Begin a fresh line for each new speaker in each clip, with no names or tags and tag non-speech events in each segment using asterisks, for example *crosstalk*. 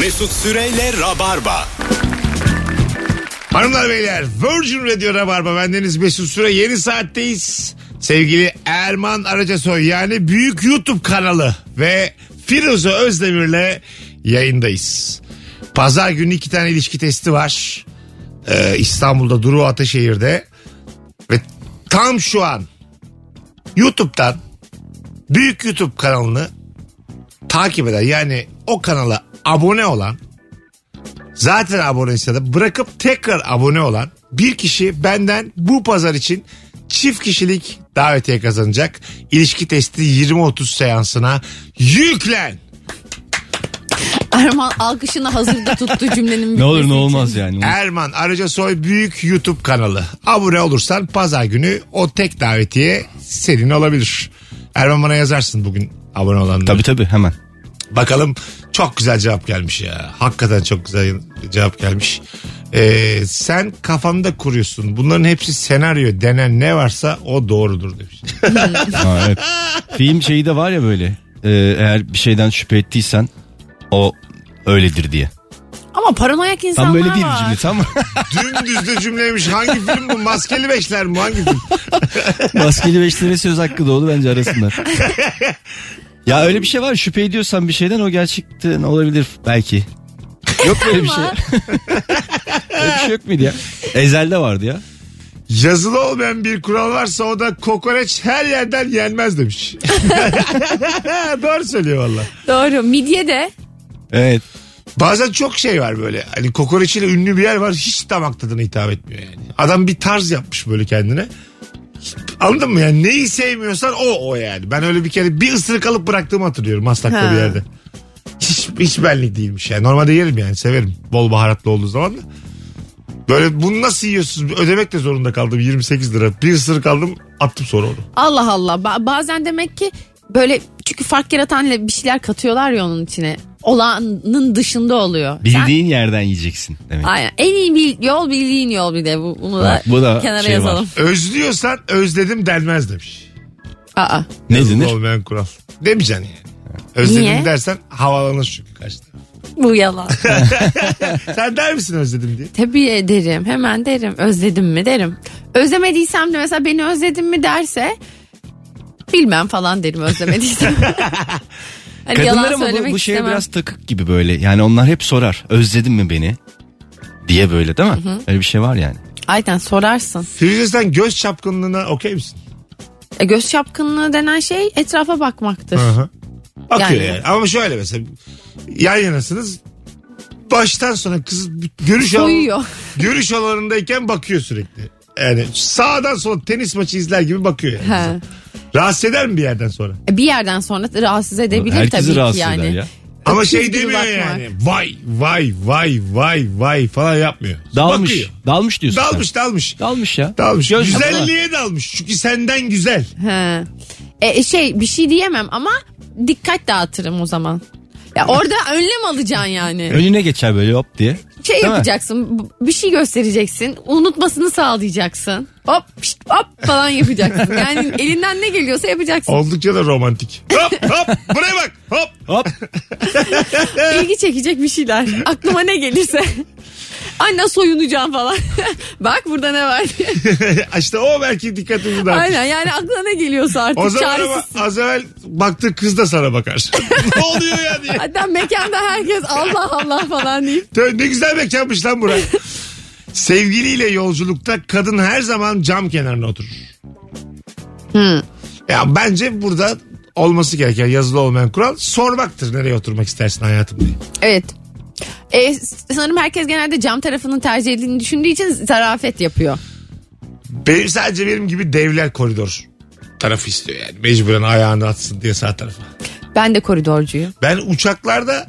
Mesut Süreyle Rabarba.
Hanımlar beyler Virgin Radio Rabarba bendeniz Mesut Süre yeni saatteyiz. Sevgili Erman Aracasoy yani büyük YouTube kanalı ve Firuze Özdemir'le yayındayız. Pazar günü iki tane ilişki testi var. Ee, İstanbul'da Duru Ataşehir'de ve tam şu an YouTube'dan büyük YouTube kanalını takip eden yani o kanala abone olan zaten aboneyse de bırakıp tekrar abone olan bir kişi benden bu pazar için çift kişilik davetiye kazanacak. İlişki testi 20-30 seansına yüklen.
Erman alkışını hazırda tuttu cümlenin.
Ne olur ne
bitmesi için.
olmaz yani.
Erman Arıca Soy büyük YouTube kanalı. Abone olursan pazar günü o tek davetiye senin olabilir. Erman bana yazarsın bugün abone olanları.
Tabii tabii *laughs* hemen.
Bakalım çok güzel cevap gelmiş ya. Hakikaten çok güzel cevap gelmiş. Ee, sen kafanda kuruyorsun. Bunların hepsi senaryo denen ne varsa o doğrudur demiş.
Ha, evet. Film şeyi de var ya böyle. e, eğer bir şeyden şüphe ettiysen o öyledir diye.
Ama paranoyak insanlar
Tam böyle değil
var.
cümle tam.
Dümdüz de cümleymiş. Hangi film bu? Maskeli Beşler mi? Hangi film?
*laughs* Maskeli beşlere söz hakkı doğdu bence arasınlar. ya öyle bir şey var şüphe ediyorsan bir şeyden o gerçekten olabilir belki. Yok böyle bir şey. *laughs* Öyle bir şey yok muydu ya? Ezel'de vardı ya.
Yazılı olmayan bir kural varsa o da kokoreç her yerden yenmez demiş. *laughs* Doğru söylüyor valla.
Doğru. Midye de.
Evet.
Bazen çok şey var böyle. Hani kokoreçiyle ünlü bir yer var hiç damak tadına hitap etmiyor yani. Adam bir tarz yapmış böyle kendine. Anladın mı yani neyi sevmiyorsan o o yani. Ben öyle bir kere bir ısırık alıp bıraktığımı hatırlıyorum Maslak'ta
Ha.
bir yerde. Hiç, hiç benlik değilmiş yani. Normalde yerim yani severim. Bol baharatlı olduğu zaman da. Böyle bunu nasıl yiyorsunuz? Ödemek de zorunda kaldım 28 lira. Bir ısırık aldım attım sonra onu.
Allah Allah. Ba- bazen demek ki böyle çünkü fark yaratan bir şeyler katıyorlar ya onun içine. Olanın dışında oluyor. Sen-
Bildiğin yerden yiyeceksin demek.
Aynen. En iyi bil- yol bildiğin yol bir de. Bu- Bunu da,
Bak, bu da
kenara
şey var.
yazalım.
Özlüyorsan özledim denmez demiş.
Aa.
Ne
Yazılı
denir?
olmayan kural. Demeyeceksin yani. Özledim
Niye?
dersen havalanır çünkü karşı taraf.
Bu yalan.
Sen der misin özledim diye?
Tabii ederim. Hemen derim. Özledim mi derim. Özlemediysem de mesela beni özledin mi derse bilmem falan derim
*laughs*
özlemediysem. hani
Kadınlar
yalan
ama bu,
söylemek
bu şeye
istemem.
biraz takık gibi böyle. Yani onlar hep sorar. Özledin mi beni? Diye böyle değil mi? Öyle bir şey var yani.
Aynen sorarsın.
Firuze sen göz çapkınlığına okey misin?
E, göz çapkınlığı denen şey etrafa bakmaktır.
Aha. Bakıyor yani.
Yani.
Ama şöyle mesela yan yanasınız. Baştan sona kız görüş
Soyuyor.
alan- görüş alanındayken bakıyor sürekli. Yani sağdan sola tenis maçı izler gibi bakıyor. Yani.
He.
Rahatsız eder mi bir yerden sonra?
E, Bir yerden sonra rahatsız edebilir
Herkesi
E tabii
rahatsız
ki yani.
eder ya.
Ama
Öküz
şey
gibi
demiyor
bakmak.
yani. Vay vay vay vay vay falan yapmıyor.
Dalmış.
Bakıyor.
Dalmış diyorsun. sen.
Dalmış dalmış.
Dalmış ya.
Dalmış.
Göz-
Güzelliğe dalmış. Çünkü senden güzel.
He. E, şey bir şey diyemem ama dikkat dağıtırım o zaman. Ya orada önlem alacaksın yani.
*laughs* Önüne geçer böyle hop diye.
Şey
Değil mi?
yapacaksın b- bir şey göstereceksin unutmasını sağlayacaksın hop pişt, hop falan yapacaksın
*laughs*
yani elinden ne geliyorsa yapacaksın
Oldukça da romantik. Hop hop buraya bak hop. *laughs*
Hop.
ilgi çekecek bir şeyler aklıma ne gelirse anne soyunacağım falan *laughs* bak burada ne var diye.
işte o belki dikkatini dağıtır.
aynen yani aklına ne geliyorsa
O
artık
zaman ama
çaresiz
az evvel baktığı kız da sana bakar. ne oluyor ya diye.
Hatta mekanda herkes Allah Allah falan deyip
Tö- Ne güzel mekanmış lan burası. Sevgiliyle yolculukta kadın her zaman cam kenarına oturur. Ya bence burada olması gereken yazılı olmayan kural sormaktır nereye oturmak istersin hayatım diye.
evet e, sanırım herkes genelde cam tarafının tercih edildiğini düşündüğü için zarafet yapıyor
Benim sadece benim gibi devler koridor tarafı istiyor yani. Mecburen ayağını atsın diye sağ tarafa.
ben de koridorcuyum
Ben uçaklarda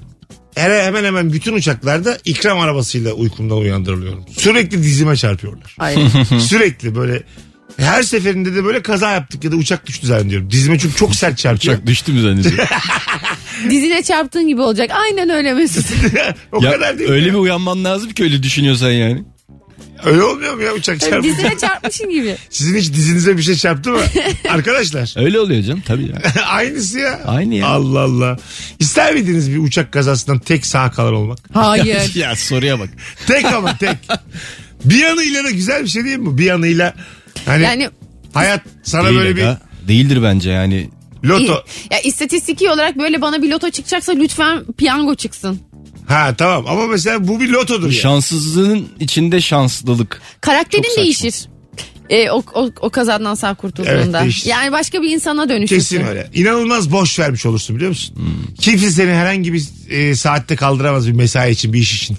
hele- hemen hemen bütün uçaklarda ikram arabasıyla uykumdan uyandırılıyorum. Sürekli dizime çarpıyorlar. *laughs*
Aynen.
Sürekli böyle her seferinde de böyle kaza yaptık ya da uçak düştü zannediyorum. Dizime çünkü çok sert çarpıyor.
Çok düştü mü zannediyorsun?
dizine çarptığın gibi olacak aynen öyle Mesut
*laughs* o
ya,
kadar değil.
öyle bir uyanman lazım ki öyle düşünüyorsan yani.
Öyle olmuyor mu ya uçak çarpınca?
Dizine çarpmışın gibi.
Sizin hiç dizinize bir şey çarptı mı? Arkadaşlar. *laughs*
Öyle oluyor canım tabii ya.
Aynısı ya.
Aynı ya.
Allah Allah. İster miydiniz bir uçak kazasından tek sağ kalan olmak?
*laughs*
*laughs*
Hayır.
ya soruya bak.
Tek ama
*laughs*
tek. Bir yanıyla da güzel bir şey değil mi? Bir yanıyla hani
Yani
hayat sana
Değil
böyle bir
aga. Değildir bence yani.
iyi.
loto.
Ya istatistiki olarak böyle bana bir loto çıkacaksa lütfen piyango çıksın.
Ha tamam ama mesela bu bir lotodur ya.
Şanssızlığın içinde şanslılık.
Karakterin
Çok saçma.
değişir. E, o, o, o kazadan sağ kurtulduğunda.
Evet, değişir.
yani başka bir insana dönüşürsün.
Kesin öyle. İnanılmaz boş vermiş olursun biliyor musun? Kimse seni herhangi bir e, saatte kaldıramaz bir mesai için bir iş için.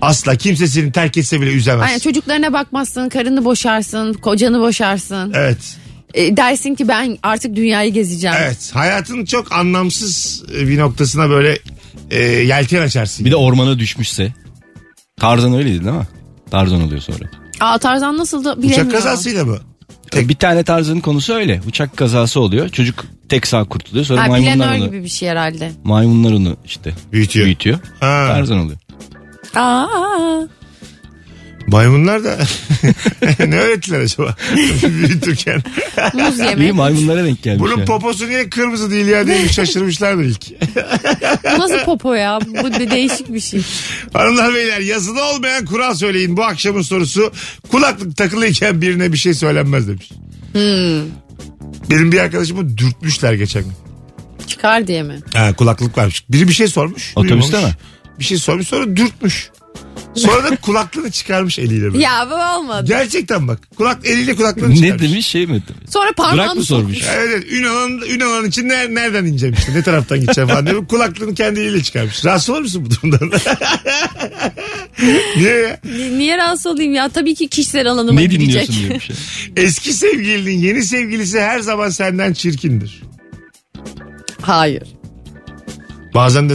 Asla kimse seni terk etse bile üzemez.
Aynen çocuklarına bakmazsın, karını boşarsın, kocanı boşarsın.
Evet.
E, dersin ki ben artık dünyayı gezeceğim.
Evet. Hayatın çok anlamsız e, bir noktasına böyle e, yelken açarsın.
Bir de ormana düşmüşse. Tarzan öyleydi değil mi? Tarzan oluyor sonra.
Aa Tarzan nasıldı bilemiyorum.
Uçak kazasıyla mı? Tek-
Bir tane Tarzan'ın konusu öyle. Uçak kazası oluyor. Çocuk tek sağ kurtuluyor. Sonra
Ha,
maymunlar
planör
onu,
gibi bir şey herhalde.
maymunlar onu işte
Büyütüyor.
büyütüyor.
Ha.
Tarzan oluyor.
Aa,
Maymunlar da *laughs* ne öğrettiler acaba *laughs* büyütürken?
muz
İyi
yemek.
maymunlara denk gelmiş.
Bunun
yani.
poposu niye kırmızı değil ya diye şaşırmışlardır ilk.
Bu Nasıl popo ya? Bu de değişik bir şey.
Hanımlar beyler yazılı olmayan kural söyleyin. Bu akşamın sorusu kulaklık takılıyken birine bir şey söylenmez demiş. Benim bir arkadaşımı dürtmüşler geçen gün.
Çıkar diye mi?
Ha, kulaklık varmış. Biri bir şey sormuş.
Otobüste
duymamış.
mi?
Bir şey sormuş sonra dürtmüş. Sonra da kulaklığını çıkarmış eliyle böyle.
Ya bu olmadı.
Gerçekten bak. Kulak eliyle kulaklığını
Ne
çıkarmış.
demiş şey mi? demiş?
Sonra
Durak
parmağını
mı
sormuş.
sormuş?
Evet Ünalan, Ünalan için ner- nereden ineceğim işte ne taraftan gideceğim falan diye kulaklığını kendi eliyle çıkarmış. Rahatsız olur musun bu durumdan? *laughs* Niye ya?
Ni- *laughs* Niye rahatsız olayım ya? Tabii ki kişisel alanıma
Ne
girecek.
dinliyorsun diye bir şey.
Eski sevgilinin yeni sevgilisi her zaman senden çirkindir.
*laughs* Hayır.
Bazen de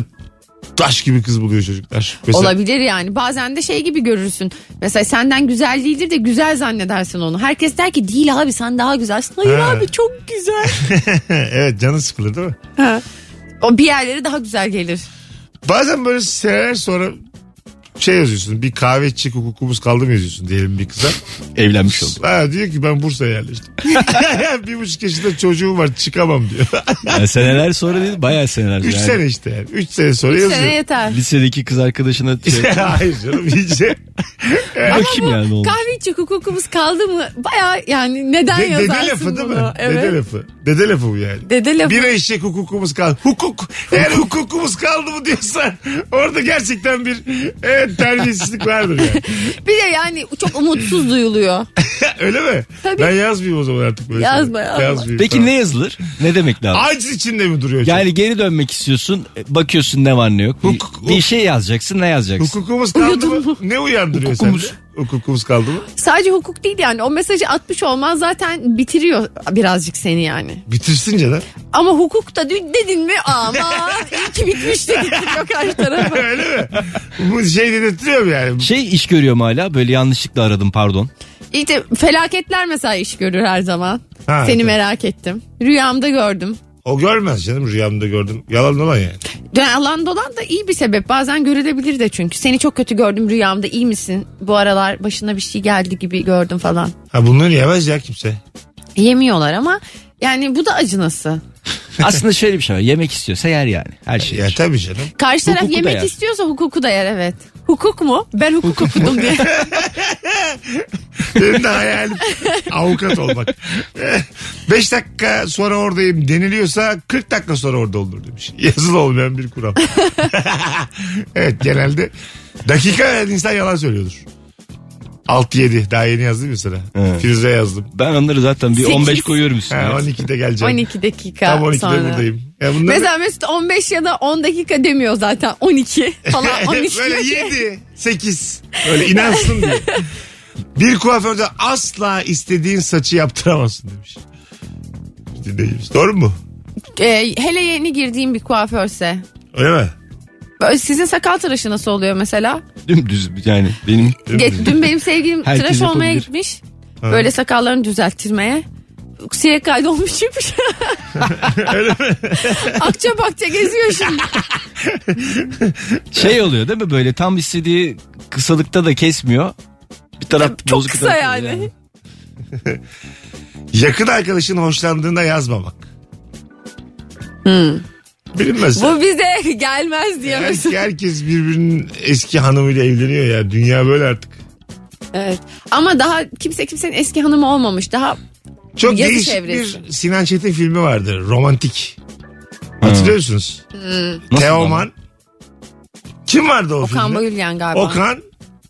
taş gibi kız buluyor çocuklar. Mesela
Olabilir yani. Bazen de şey gibi görürsün. Mesela senden güzel değildir de güzel zannedersin onu. Herkes der ki değil abi sen daha güzelsin. Hayır
Ha.
abi çok güzel.
*laughs* evet canın sıkılır değil mi?
o bir yerlere daha güzel gelir.
Bazen böyle seneler sonra şey yazıyorsun bir kahve içecek hukukumuz kaldı mı yazıyorsun diyelim bir kıza. *laughs*
Evlenmiş oldu.
Ha, diyor ki ben Bursa'ya yerleştim. *laughs* bir buçuk yaşında çocuğum var çıkamam diyor. *laughs*
Yani seneler sonra değil bayağı seneler sonra.
Üç
Yani
sene işte yani. Üç sene sonra
Bir
yazıyor. *laughs*
sene yeter.
Lisedeki kız arkadaşına şey,
Hayır canım iyice.
bakayım yani ne olmuş.
Kahve içecek hukukumuz kaldı mı? Baya yani neden
De- dede
yazarsın
lafı
bunu?
değil mi?
Evet.
Dede lafı. Dede lafı bu yani.
Dede lafı.
Bir eşek hukukumuz kaldı. Hukuk. Eğer hukukumuz kaldı mı diyorsan orada gerçekten bir evet, terbiyesizlik vardır
*laughs*
yani.
Bir de yani çok
*laughs*
umutsuz duyuluyor.
Öyle mi?
Tabii.
Ben yazmayayım o zaman artık böyle.
Yazma,
şeyler.
yazma.
Yazmayayım,
Peki
tamam.
ne yazılır? Ne demek lazım?
Aciz içinde mi duruyor? Yani...
Yani geri dönmek istiyorsun. e, Bakıyorsun ne var ne yok. Bir,
Hukuk-
bir şey yazacaksın ne yazacaksın?
Hukukumuz kaldı
Uyudum
mı? Ne uyandırıyor
Hukukumuz.
sende? Hukukumuz kaldı mı?
Sadece hukuk değil yani o mesajı atmış olman zaten bitiriyor birazcık seni yani.
Bitirsin
*laughs*
canım.
Ama hukuk da dün dedin mi aman iyi ki bitmiş de gittiriyor karşı tarafa.
Öyle mi? Bu şey dedirtiyor mu yani?
Şey iş görüyorum hala böyle yanlışlıkla aradım pardon.
*laughs* İşte felaketler mesela iş görür her zaman.
Ha,
Seni
evet.
merak ettim. Rüyamda gördüm.
O görmez canım rüyamda gördüm. Yalan olan yani.
Yalan dolan da iyi bir sebep. Bazen görülebilir de çünkü. Seni çok kötü gördüm rüyamda. iyi misin? Bu aralar başına bir şey geldi gibi gördüm falan.
Ha bunları yemez ya kimse.
Yemiyorlar ama yani bu da acınası.
Aslında şöyle bir şey var. Yemek istiyorsa yer yani. Her şey.
Ya
yer.
tabii canım.
Karşı taraf
Hukuku da
yemek
yer.
istiyorsa hukuku da yer evet. Hukuk mu? Ben hukuk okudum diye. *laughs*
Benim de hayalim avukat olmak. 5 dakika sonra oradayım deniliyorsa 40 dakika sonra orada olur demiş. Yazılı olmayan bir kural. *laughs* evet genelde dakika veren insan yalan söylüyordur. 6-7 daha yeni yazdım ya sana.
Evet.
Firuze yazdım.
Ben onları zaten bir
Sekiz.
15 koyuyorum üstüne.
Ha, 12'de geleceğim.
12 dakika
Tam 12'de
sonra.
buradayım. Ya bunları-
Mesela Mesut 15 ya da 10 dakika demiyor zaten.
*laughs*
12
*laughs*
falan 13 diyor
Böyle
ki.
7, 8. Böyle inansın diye. Bir kuaförde asla istediğin saçı yaptıramazsın demiş. Dinleyicimiz. Doğru mu?
Ee, hele yeni girdiğim bir kuaförse.
Öyle mi?
Böyle sizin sakal tıraşı nasıl oluyor mesela?
Dümdüz yani benim.
Ge- Dün benim sevgilim
Herkes
tıraş olmaya
yapabilir.
gitmiş. Böyle sakallarını düzelttirmeye. Siye kaydolmuş
*laughs*
çıkmış. *laughs* Akça bakça geziyor şimdi.
Şey oluyor değil mi böyle tam istediği kısalıkta da kesmiyor. Bir taraf
Çok
*laughs* bozuk bir
kısa
taraf-
yani.
Yakın arkadaşın hoşlandığında yazmamak. Bilinmez.
Hmm. Bu bize *laughs* gelmez
Her-
diyoruz.
herkes birbirinin eski hanımıyla evleniyor ya. Dünya böyle artık.
Evet. Ama daha kimse kimsenin eski hanımı olmamış. Daha
Çok
Yazı
değişik
çevresi.
bir Sinan Çetin filmi vardı. Romantik. Hatırlıyor musunuz?
Nasıl lan?
Teoman. Kim vardı o
Hmm. Okan
filmde?
Bayülgen galiba.
Okan.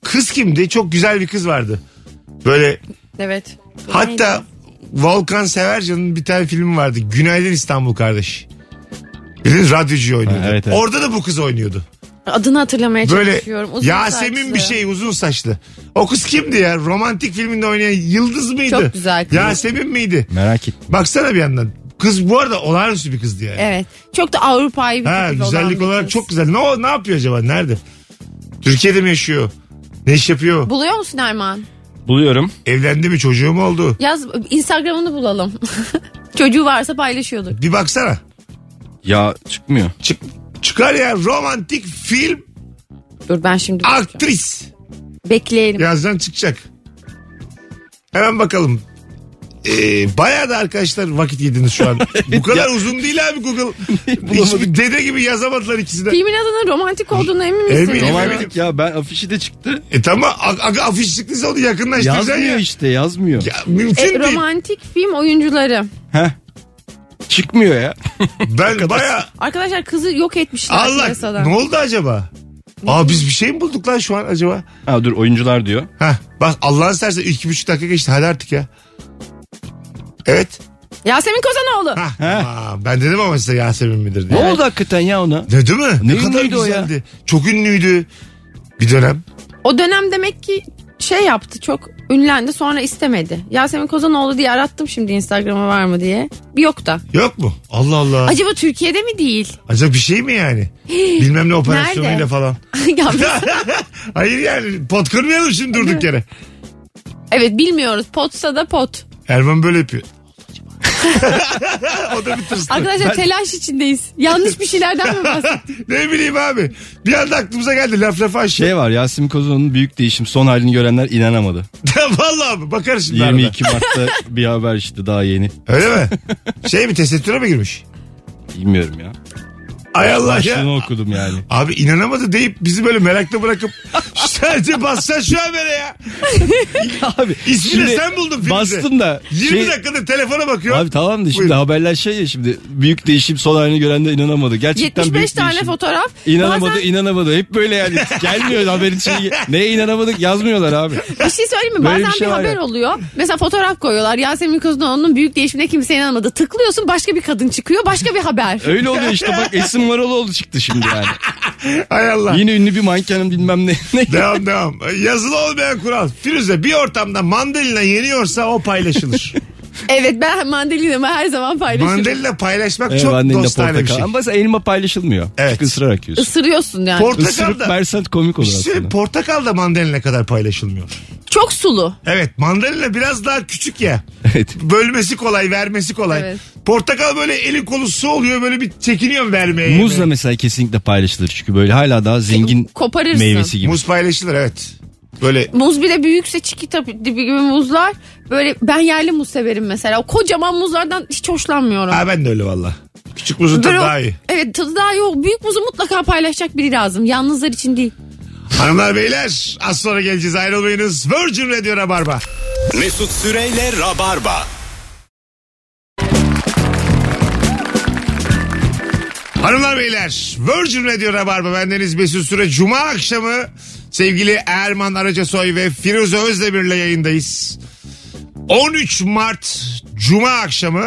Kız kimdi? Çok güzel bir kız vardı. Böyle
Evet.
Hatta Volkan Severcan'ın bir tane filmi vardı. Günaydın İstanbul kardeş. Bildiğiniz radyocuyu oynuyordu.
Ha, evet, evet.
Orada da bu kız oynuyordu.
adını hatırlamaya
Böyle
çalışıyorum. Uzun
Yasemin
saçlı.
bir şey uzun saçlı. O kız kimdi ya? Romantik filminde oynayan Yıldız mıydı?
Çok güzel kız.
Yasemin miydi?
Merak ettim.
Baksana bir yandan. Kız bu arada olağanüstü bir kızdı yani.
Evet. Çok da Avrupa'yı bir
Ha,
tip olan
güzellik
bir
olarak
kız.
çok güzel. Ne o- ne yapıyor acaba? Nerede? Türkiye'de mi yaşıyor? Ne iş yapıyor?
Buluyor musun Erman?
Buluyorum.
Evlendi mi? Çocuğu mu oldu?
Yaz Instagram'ını bulalım. *laughs* Çocuğu varsa paylaşıyordur.
Bir baksana.
Ya çıkmıyor.
Çık, çıkar ya romantik film
Dur ben şimdi bakacağım.
aktris.
bekleyelim.
Yazdan çıkacak. Hemen bakalım. Ee, bayağı da arkadaşlar vakit yediniz
*laughs*
şu an. Bu kadar uzun değil abi Google. Hiçbir dede gibi yazamadılar ikisi de.
Filmin adının romantik olduğuna emin misin? E,
Eminim.
Erman?
Romantik.
Romantik ya ben afişi de çıktı.
E tamam a- a- afiş çıktıysa onu yakınlaştıracaksın
Yazmıyor
ya.
işte yazmıyor.
Ya mümkün
E,
değil.
romantik film oyuncuları.
Heh. Çıkmıyor ya.
Ben bayağı
Arkadaşlar kızı yok etmişler
Allah
piyasadan.
ne oldu acaba? Aa biz bir şey mi bulduk lan şu an acaba?
Ha dur oyuncular diyor.
Hah bak Allah'ın serse iki buçuk dakika geçti hadi artık ya. Evet.
Yasemin Kozanoğlu.
Hah.
Heh.
Aa, Ah, ben dedim ama size Yasemin midir
Ne
diye.
oldu hakikaten ya ona?
Ne değil mi? Ne,
Ne
kadar
ünlüydü o ya?
güzeldi. Çok ünlüydü. Bir dönem.
O dönem demek ki şey yaptı çok ünlendi sonra istemedi. Yasemin Kozanoğlu diye arattım şimdi Instagram'a var mı diye. Bir yok da.
Yok mu? Allah Allah. Acaba,
Acaba Türkiye'de mi değil?
bir şey mi yani? Bilmem ne operasyonuyla
Nerede?
falan. *laughs*
*laughs* Ya biz-
Hayır yani pot kırmayalım şimdi durduk yere.
evet bilmiyoruz. Potsa da
*laughs*
pot.
Erman böyle yapıyor. *laughs* o da bir tırstı.
Arkadaşlar telaş içindeyiz. Yanlış bir şeylerden
*laughs*
mi bahsediyoruz?
ne bileyim abi. Bir anda aklımıza geldi laf lafa aşağı. *laughs*
Şey var Yasemin Kozan'ın büyük değişim son halini görenler inanamadı.
Vallahi abi bakarız şimdi.
22 Mart'ta bir haber işte daha yeni.
arada. Öyle mi? Şey mi tesettüre mi girmiş?
Bilmiyorum ya.
Ay Allah ya.
Başlığını okudum yani.
Abi inanamadı deyip bizi böyle merakla bırakıp *laughs* sadece bassan şu habere ya.
*laughs* Abi
İsmini
şimdi
sen buldun filmde.
Bastım da.
20
şey-
dakikadır telefona bakıyor.
Abi tamam da şimdi
Buyurun.
haberler şey ya şimdi büyük değişim son halini görenler inanamadı. Gerçekten
75
büyük
tane
değişim.
fotoğraf.
İnanamadı
Bazen
inanamadı. Hep
*laughs*
böyle yani gelmiyor haberin şeyi. Neye inanamadık yazmıyorlar abi.
bir şey söyleyeyim mi?
Böyle bir
Bazen bir,
şey var
haber
ya.
oluyor. Mesela fotoğraf koyuyorlar. Yasemin Kozanoğlu'nun büyük değişimine kimse inanmadı. Tıklıyorsun başka bir kadın çıkıyor. Başka bir haber.
Öyle oluyor
*laughs*
işte bak Esin Varoloğlu çıktı şimdi yani.
Hay Allah.
Yine ünlü bir mankenin bilmem ne. *laughs* ne.
Devam devam. Yazılı olmayan kural. Firuze bir ortamda mandalina yeniyorsa o
*laughs*
paylaşılır.
evet ben mandalinamı her zaman paylaşırım.
mandalina paylaşmak
Evet,
çok
annenle
dostane bir
portakal.
şey.
Ama mesela elma paylaşılmıyor.
Evet.
Çünkü ısırarak yiyorsun.
Isırıyorsun yani.
Portakal
Isırıp
da-
versen komik
Bir
olur
şey söyleyeyim,
aslında.
portakal da mandalina kadar paylaşılmıyor.
Çok sulu.
Evet mandalina biraz daha küçük ya.
*laughs* Evet.
Bölmesi kolay vermesi kolay.
Evet.
Portakal böyle elin kolu su oluyor böyle bir çekiniyorum vermeye.
Muz da mesela kesinlikle paylaşılır çünkü böyle hala daha zengin
Koparırsın.
meyvesi gibi.
Muz paylaşılır evet.
E-
Böyle
Muz bile büyükse çikita dibi gibi muzlar. Böyle ben yerli muz severim mesela. O kocaman muzlardan hiç hoşlanmıyorum.
ha ben de öyle valla. Küçük muzun tadı
Böyle o-
daha iyi.
Evet tadı daha iyi. O Büyük muzu mutlaka paylaşacak biri lazım. Yalnızlar için değil.
Hanımlar beyler az sonra geleceğiz ayrılmayınız. Virgin Radio Rabarba.
Mesut Süreyle Rabarba.
Hanımlar beyler Virgin Radio Rabarba bendeniz Mesut Süre Cuma akşamı sevgili Erman Aracasoy ve Firuze Özdemir'le yayındayız. 13 Mart Cuma akşamı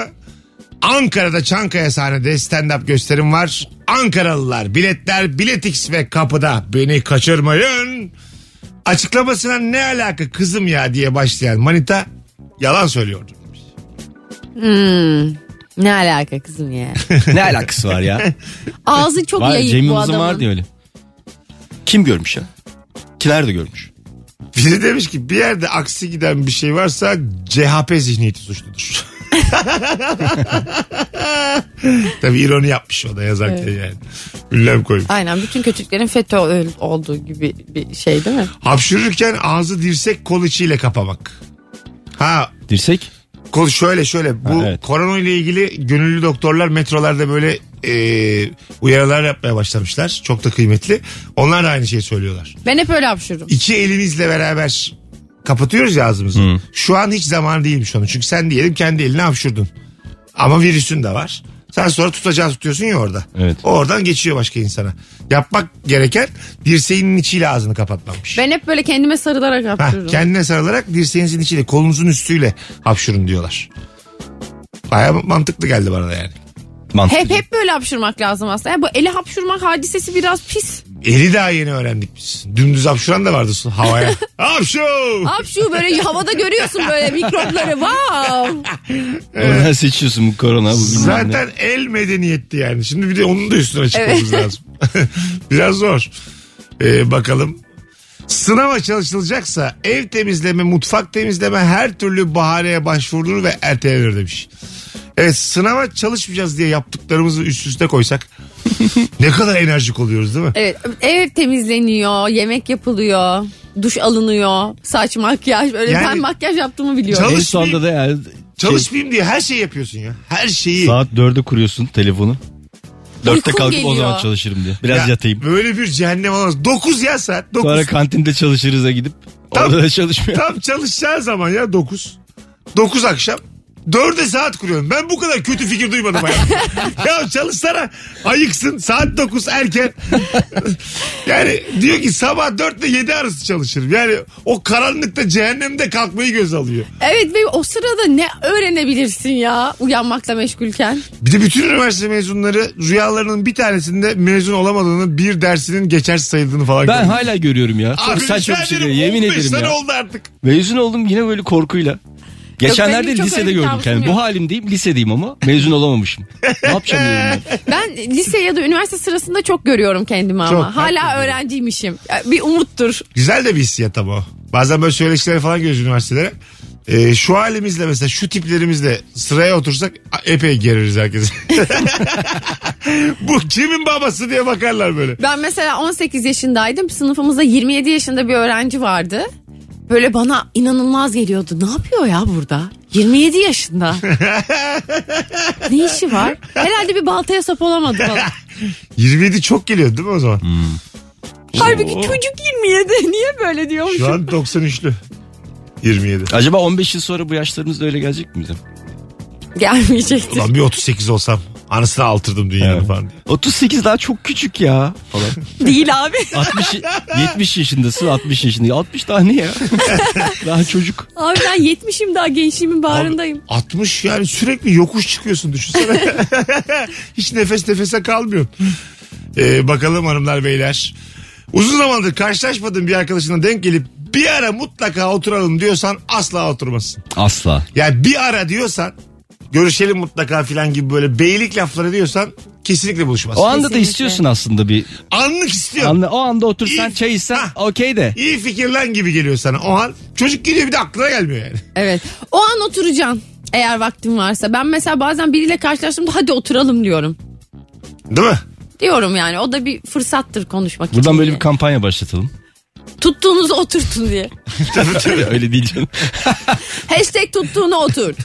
Ankara'da Çankaya sahnede stand-up gösterim var. Ankaralılar biletler biletix ve kapıda beni kaçırmayın. Açıklamasına ne alaka kızım ya diye başlayan manita yalan söylüyordu.
Ne alaka kızım ya.
ne alakası var ya?
*laughs* Ağzı *laughs* çok
var,
yayık
Cem
bu
Yılmaz'ın
adamın.
vardı ya öyle. Kim görmüş ya? Kiler de görmüş.
Biri demiş ki bir yerde aksi giden bir şey varsa CHP zihniyeti suçludur. *laughs* Tabii ironi yapmış o da yazarken yani. Ünlem koymuş.
Aynen bütün kötülüklerin FETÖ öl- olduğu gibi bir şey değil mi?
Hapşırırken ağzı dirsek kol içiyle kapamak. Ha
Dirsek.
kol şöyle şöyle bu
Ha, evet.
korona ile ilgili gönüllü doktorlar metrolarda böyle e, uyarılar yapmaya başlamışlar. Çok da kıymetli. Onlar da aynı şeyi söylüyorlar.
Ben hep öyle hapşırırım.
İki elimizle beraber kapatıyoruz ya ağzımızı. Şu an hiç zaman değilmiş onun. Çünkü sen diyelim kendi eline hapşurdun. Ama virüsün de var. Sen sonra tutacağı tutuyorsun ya orada.
Evet.
O Oradan geçiyor başka insana. Yapmak gereken dirseğinin içiyle ağzını kapatmamış.
Ben hep böyle kendime sarılarak
Hah,
hapşırırım.
kendine sarılarak dirseğinizin içiyle kolunuzun üstüyle hapşurun diyorlar. Baya mantıklı geldi bana da yani.
Mantıklı.
Hep hep böyle hapşırmak lazım aslında. Yani bu eli hapşırmak hadisesi biraz pis.
Eli daha yeni öğrendik biz. Dümdüz hapşuran da vardı su- havaya. Hapşu!
Hapşu böyle *laughs* havada görüyorsun böyle mikropları. Wow.
Oradan *laughs* seçiyorsun bu korona. Bu bilmem ne.
Zaten el medeniyetti yani. Şimdi bir de onun da üstüne çıkmamız lazım.
*laughs*
Biraz zor. Ee, bakalım. Sınava çalışılacaksa ev temizleme, mutfak temizleme her türlü bahaneye başvurulur ve ertelenir demiş. Evet sınava çalışmayacağız diye yaptıklarımızı üst üste
*laughs*
koysak ne kadar enerjik oluyoruz değil mi?
Evet, ev temizleniyor, yemek yapılıyor, duş alınıyor, saç makyaj böyle
Yani-
ben makyaj yaptığımı biliyorum.
Çalış-
En sonunda da yani şey,
Çalışmayayım diye her şeyi yapıyorsun ya. Her şeyi.
saat dörde kuruyorsun telefonu. Dörtte
Uykum
kalkıp o
geliyor.
zaman çalışırım diye. Biraz
Ya,
yatayım.
Böyle bir cehennem olmaz. 9 ya saat. 9.
Sonra kantinde çalışırız'a gidip
Tam-
orada da çalışmıyor.
Tam çalışacağı zaman ya 9. 9 akşam. 4'e saat kuruyorum. Ben bu kadar kötü fikir duymadım hayatımda. ya çalışsana. Ayıksın. Saat 9 erken. yani diyor ki sabah 4 ile 7 arası çalışırım. Yani o karanlıkta cehennemde kalkmayı göz alıyor.
Evet ve o sırada ne öğrenebilirsin ya uyanmakla meşgulken?
Bir de bütün üniversite mezunları rüyalarının bir tanesinde mezun olamadığını bir dersinin geçer sayıldığını falan
Ben
görüyor.
hala görüyorum ya. Çok
Abi
saçma
rica
bir şey
ederim,
diyor. Yemin
15
ederim
sene
ya.
oldu artık.
Mezun oldum yine böyle korkuyla. Geçenlerde
benim çok öyle
lisede
bir
gördüm
tavrım
kendimi.
yok.
Bu halim deyip lisedeyim ama mezun olamamışım. ne yapacağım diyorum
*laughs*
ben.
Ben lise ya da üniversite sırasında çok görüyorum kendimi ama.
Çok,
Hala öğrenciymişim. Ya, Bir umuttur.
Güzel de bir hissiyat ama. o. Bazen böyle söyleşilere falan giriyoruz üniversitelere. Ee, şu halimizle mesela şu tiplerimizle sıraya otursak a- epey geririz herkesi. *laughs* Bu kimin babası diye bakarlar böyle.
Ben mesela 18 yaşındaydım. Sınıfımızda 27 yaşında bir öğrenci vardı. Böyle bana inanılmaz geliyordu. Ne yapıyor ya burada?
*laughs*
27 yaşında. ne işi var? Herhalde bir baltaya sap olamadı
*laughs*
falan.
27 çok geliyor değil mi o zaman?
Halbuki çocuk 27. Niye böyle
Şu
diyormuşum?
an 93'lü. 27.
Acaba 15 yıl sonra bu yaşlarımız da öyle gelecek mi bize?
Gelmeyecektir.
Ulan bir 38 olsam anasını altırdım dünyanın
Evet.
falan diye.
38 daha çok küçük ya falan.
Değil abi.
*laughs*
60 70 yaşındasın 60 yaşında. 60 daha ne ya? daha çocuk.
Abi ben 70'im daha gençliğimin bağrındayım.
60 yani sürekli yokuş çıkıyorsun düşünsene. Hiç nefes nefese kalmıyorsun. Ee, bakalım hanımlar beyler. Uzun zamandır karşılaşmadığın bir arkadaşına denk gelip bir ara mutlaka oturalım diyorsan asla oturmasın.
Asla.
Yani bir ara diyorsan görüşelim mutlaka filan gibi böyle beylik lafları diyorsan kesinlikle buluşmasın.
O anda da
Kesinlikle.
istiyorsun aslında bir.
Anlık istiyorum.
Anla, o anda otursan
İyi.
çay içsen
Hah.
okey de.
İyi fikir lan gibi geliyor sana o an. Çocuk geliyor bir de aklına gelmiyor yani.
Evet. O an oturacaksın. Eğer vaktin varsa. Ben mesela bazen biriyle karşılaştığımda hadi oturalım diyorum.
Değil mi?
Diyorum yani. O da bir fırsattır konuşmak için.
Buradan böyle
diye.
bir
*laughs*
kampanya başlatalım.
Tuttuğunuzu oturtun diye. *laughs*
Öyle diyeceğim.
Hashtag tuttuğunu oturt.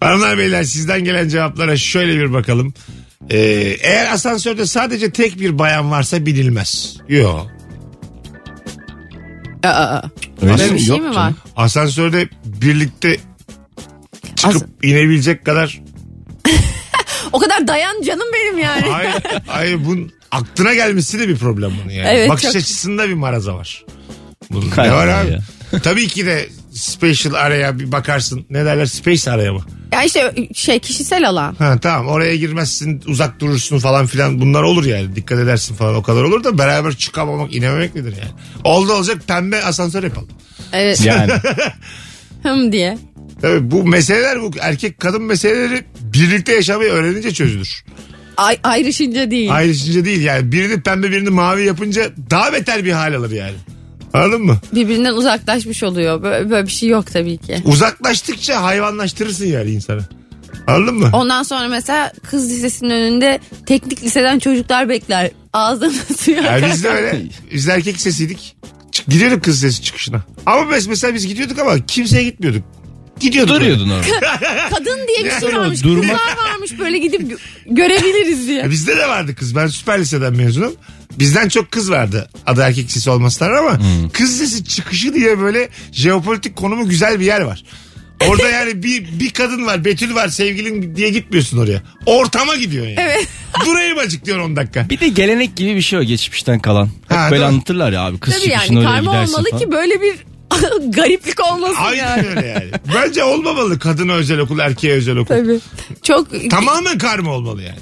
Hanımlar beyler sizden gelen cevaplara şöyle bir bakalım. Ee, eğer asansörde sadece tek bir bayan varsa bilinmez. Yok.
Aa,
Öyle
öyle bir şey mi var?
Asansörde birlikte çıkıp
As-
inebilecek kadar.
o kadar dayan canım benim yani.
Hayır, hayır bunun aklına gelmesi de bir problem bunun yani.
Evet,
Bakış
çok-
açısında bir maraza var. Bunun ne
Hayır
var abi?
ya.
Tabii ki de special araya bir bakarsın. Ne derler space araya mı?
Ya işte şey kişisel alan.
Ha tamam oraya girmezsin uzak durursun falan filan bunlar olur yani dikkat edersin falan o kadar olur da beraber çıkamamak inememek nedir yani. Oldu olacak pembe asansör yapalım.
Evet.
Yani.
Hım diye.
Tabii bu meseleler bu erkek kadın meseleleri birlikte yaşamayı öğrenince çözülür.
Ay, ayrışınca değil.
Ayrışınca değil yani birini pembe birini mavi yapınca daha beter bir hal alır yani. Anladın mı?
Birbirinden uzaklaşmış oluyor. Böyle, böyle bir şey yok tabii ki.
Uzaklaştıkça hayvanlaştırırsın yani insanı. Anladın mı?
Ondan sonra mesela kız lisesinin önünde teknik liseden çocuklar bekler. Ağzını *laughs* suyu
Ya
akar.
biz de öyle. Biz de erkek sesiydik. Çık, gidiyorduk kız sesi çıkışına. Ama biz mesela biz gidiyorduk ama kimseye gitmiyorduk. Gidiyorduk.
Duruyordun orada.
*laughs*
Kadın diye bir şey varmış.
durmak-
Kızlar varmış böyle gidip gö- görebiliriz diye.
Ya E, bizde de vardı kız. Ben süper liseden mezunum. Bizden çok kız vardı. Adı erkek sesi olmasınlar ama kız sesi çıkışı diye böyle jeopolitik konumu güzel bir yer var. Orada yani bir, bir kadın var, Betül var, sevgilin diye gitmiyorsun oraya. Ortama gidiyorsun yani. *laughs* Evet. Durayım acık diyorsun 10 dakika.
Bir de gelenek gibi bir şey o geçmişten kalan. Hep
Ha,
böyle
değil mi?
anlatırlar ya abi kız
Tabii
çıkışına
yani
oraya
karma
gidersin
olmalı
falan.
ki böyle bir *laughs* gariplik olmasın şey yani.
Aynen öyle yani. Bence olmamalı kadına özel okul, erkeğe özel okul.
Tabii. Çok
Tamamen karma olmalı yani.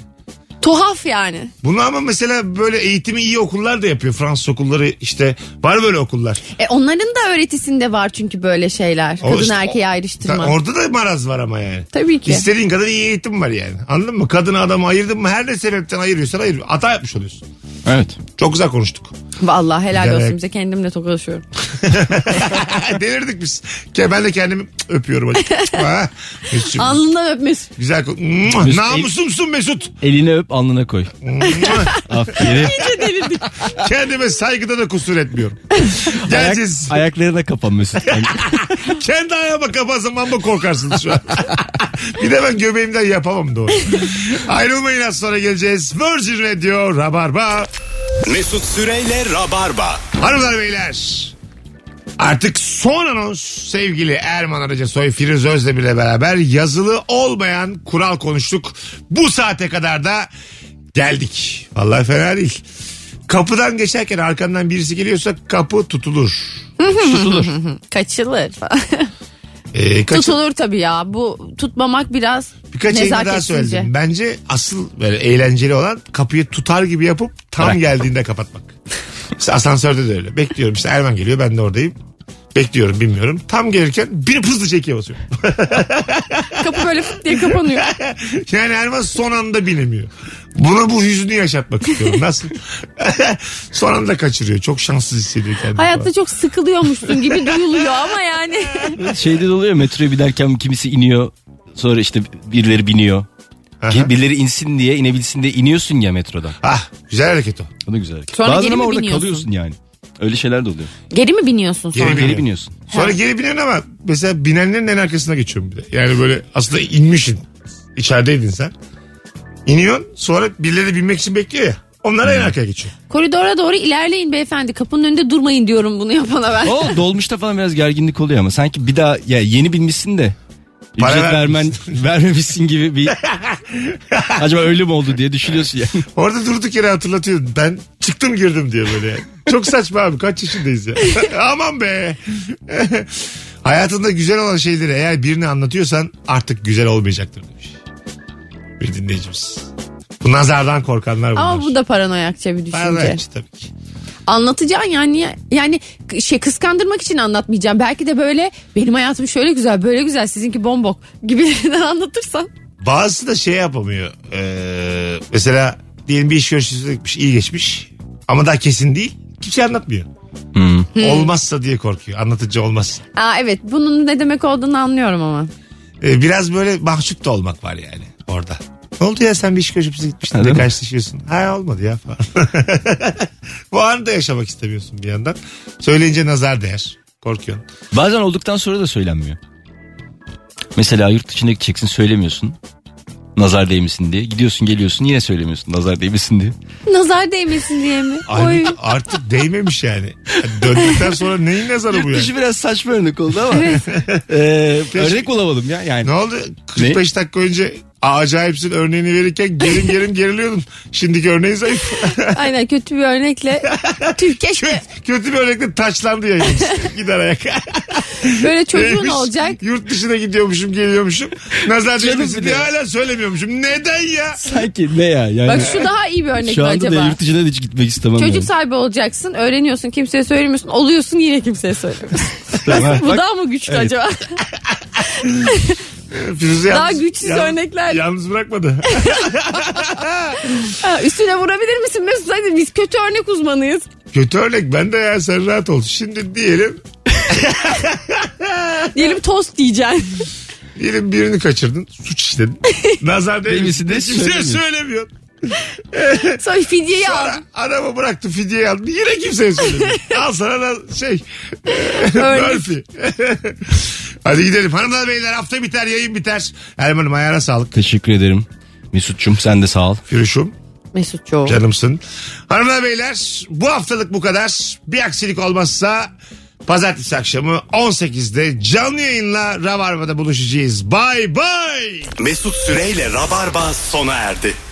tuhaf yani.
Bunu ama mesela böyle eğitimi iyi okullar da yapıyor. Fransız okulları işte var böyle okullar.
E onların da öğretisinde var çünkü böyle şeyler.
O
Kadın
işte-
erkeği
Ta-
ayrıştırma.
Orada da maraz var ama yani.
Tabii ki.
İstediğin kadar iyi eğitim var yani. Anladın mı? Kadını adamı ayırdın mı her ne sebepten ayırıyorsan ayır. Hata yapmış oluyorsun.
Evet.
Çok güzel konuştuk. *laughs*
Vallahi helal
Güzel ayak.
olsun bize kendimle tokalaşıyorum.
Delirdik biz. Ke- Ben de kendimi öpüyorum. hadi. Ha, Mesut'cum.
Alnından öpmesi.
güzel. kon- Mua,
Mesut-
Namusumsun Mesut.
Elini öp alnına koy.
Mua.
Aferin.
*laughs*
delirdik.
Kendime saygıda da kusur etmiyorum.
Ayak,
Geleceğiz.
ayaklarına
*laughs*
kapan Mesut.
Kendi ayağıma kapatsam ama korkarsınız şu an. *laughs* bir de ben göbeğimden yapamam doğru. Ayrılmayın az sonra geleceğiz. Virgin Radio Rabarba.
Mesut Süreyle Rabarba.
Hanımlar beyler. Artık son anons sevgili Erman Arıca Soy Firuz Özdemir'le beraber yazılı olmayan kural konuştuk. Bu saate kadar da geldik. Vallahi fena değil. Kapıdan geçerken arkandan birisi geliyorsa kapı tutulur.
Tutulur.
Kaçılır falan.
Ee, kaçın-
Tutulur tabii ya. Bu tutmamak biraz
Birkaç yayında daha
nezaketsizce.
söyledim. Bence asıl böyle eğlenceli olan kapıyı tutar gibi yapıp tam
Bırak.
geldiğinde kapatmak. Mesela asansörde de öyle. Bekliyorum işte Erman geliyor ben de oradayım. Bekliyorum bilmiyorum. Tam gelirken bir hızlıca ikiye basıyorum.
*laughs*
*laughs*
Kapı böyle fıt diye kapanıyor.
yani Erman son anda binemiyor. Buna bu hüznü yaşatmak istiyorum. Nasıl? *laughs* son anda kaçırıyor. Çok şanssız hissediyor kendini.
Hayatta
falan.
çok sıkılıyormuşsun gibi duyuluyor ama yani.
Şeyde de oluyor metroya binerken kimisi iniyor. Sonra işte birileri biniyor.
Aha.
Birileri insin diye inebilsin diye iniyorsun ya metrodan.
Ah güzel hareket o.
O da güzel. hareket.
Sonra
Bazen
geri
ama
mi
orada
biniyorsun?
kalıyorsun yani. Öyle şeyler de oluyor.
*laughs* Geri mi biniyorsun sonra?
Geri
Geri
biniyorum.
biniyorsun.
Sonra geri biniyorsun ama mesela binenlerin en arkasına geçiyorum bir de. Yani böyle aslında inmişsin. İçerideydin sen. İniyorsun sonra birileri binmek için bekliyor ya. Onlara en arkaya geçiyor.
Koridora doğru ilerleyin beyefendi. Kapının önünde durmayın diyorum bunu yapana ben.
Oh.
O dolmuşta falan biraz gerginlik oluyor ama sanki bir daha ya yeni binmişsin de
Para
ücret vermen
vermemişsin.
vermemişsin gibi bir acaba öyle mi oldu diye düşünüyorsun yani.
Orada durduk yere hatırlatıyor. Ben çıktım girdim diyor böyle. yani. Çok saçma abi kaç yaşındayız ya. *laughs* Aman be. *laughs* Hayatında güzel olan şeyleri eğer birine anlatıyorsan artık güzel olmayacaktır demiş. Bir dinleyicimiz. Bu nazardan korkanlar bunlar.
Ama bu da paranoyakça bir düşünce.
Paranoyak tabii ki.
Anlatacaksın yani niye- yani k- şey kıskandırmak için anlatmayacağım. Belki de böyle benim hayatım şöyle güzel, böyle güzel, sizinki bombok gibilerinden *laughs* anlatırsan.
Bazısı da şey yapamıyor. Ee, mesela diyelim bir iş görüşmesi gitmiş, iyi geçmiş. Ama daha kesin değil. Kimse anlatmıyor.
Hmm.
Olmazsa diye korkuyor. Anlatıcı olmaz.
Aa evet, bunun ne demek olduğunu anlıyorum ama.
Ee, biraz böyle mahcup da olmak var yani orada. Ne oldu ya sen bir iş görüşmesi gitmiştin de
Öyle mi?
karşılaşıyorsun. Ha olmadı ya falan. *laughs* Bu anı da yaşamak istemiyorsun bir yandan. Söyleyince nazar değer. Korkuyorsun.
Bazen olduktan sonra da söylenmiyor. Mesela yurt dışına gideceksin söylemiyorsun. Nazar değmesin diye. Gidiyorsun geliyorsun yine söylemiyorsun nazar değmesin diye.
Nazar değmesin diye mi? Oy.
Ay, artık değmemiş yani. Döndükten sonra neyin nazarı bu
Yurt *laughs*
yani?
dışı biraz saçma örnek oldu ama. Ee, örnek bulamadım ya yani.
Ne oldu? 45 dakika önce acayipsin örneğini verirken gerin
*laughs*
gerin geriliyordun. Şimdiki örneğin zayıf.
Aynen kötü bir örnekle. Tüh, keşke
Kötü, kötü bir örnekle taçlandı yayınımız. Gider ayak.
böyle *laughs* çocuğun
Neymiş?
olacak.
Yurt dışına gidiyormuşum geliyormuşum. Nazar
Canım
değmesin
bir
diye
de.
hala söylemiyormuşum. Neden ya?
Sanki ne ya yani.
Bak şu daha iyi bir örnek
Şu
mi
anda da
acaba?
yurt dışına da hiç gitmek istemem.
Çocuk
yani.
sahibi olacaksın, öğreniyorsun, kimseye söylemiyorsun, oluyorsun yine kimseye
*laughs*
söylemiyorsun.
Tamam.
Bu daha mı güçlü acaba?
Firuze
Daha
yalnız-
güçsüz
yalnız-
örnekler.
Yalnız bırakmadı. *laughs*
Ha, üstüne vurabilir misin Mesut? Hadi biz kötü örnek uzmanıyız.
Kötü örnek ben de ya sen rahat ol. Şimdi diyelim,
Diyelim tost diyeceksin.
diyelim birini kaçırdın. Suç
*laughs*
işledin. Nazar değmesin
Değmesin
diye
diye
kimseye
söylemiyorsun.
söylemiyorsun.
Sonra fidyeyi
Sonra
aldım.
adamı bıraktı fidyeyi aldı. Yine kimseye söylemiyorsun. Al sana da şey. Murphy. *laughs* Hadi gidelim. Hanımlar beyler hafta biter yayın biter. Erman'ım ayağına sağlık.
Teşekkür ederim. Mesut'cum sen de sağ ol.
Firuşum.
Mesut Çoğu.
Şey,
Canımsın. Hanımlar beyler bu haftalık bu kadar. Bir aksilik olmazsa pazartesi akşamı 18'de canlı yayınla Rabarba'da buluşacağız. Bay bay.
Mesut Süreyle Rabarba sona erdi.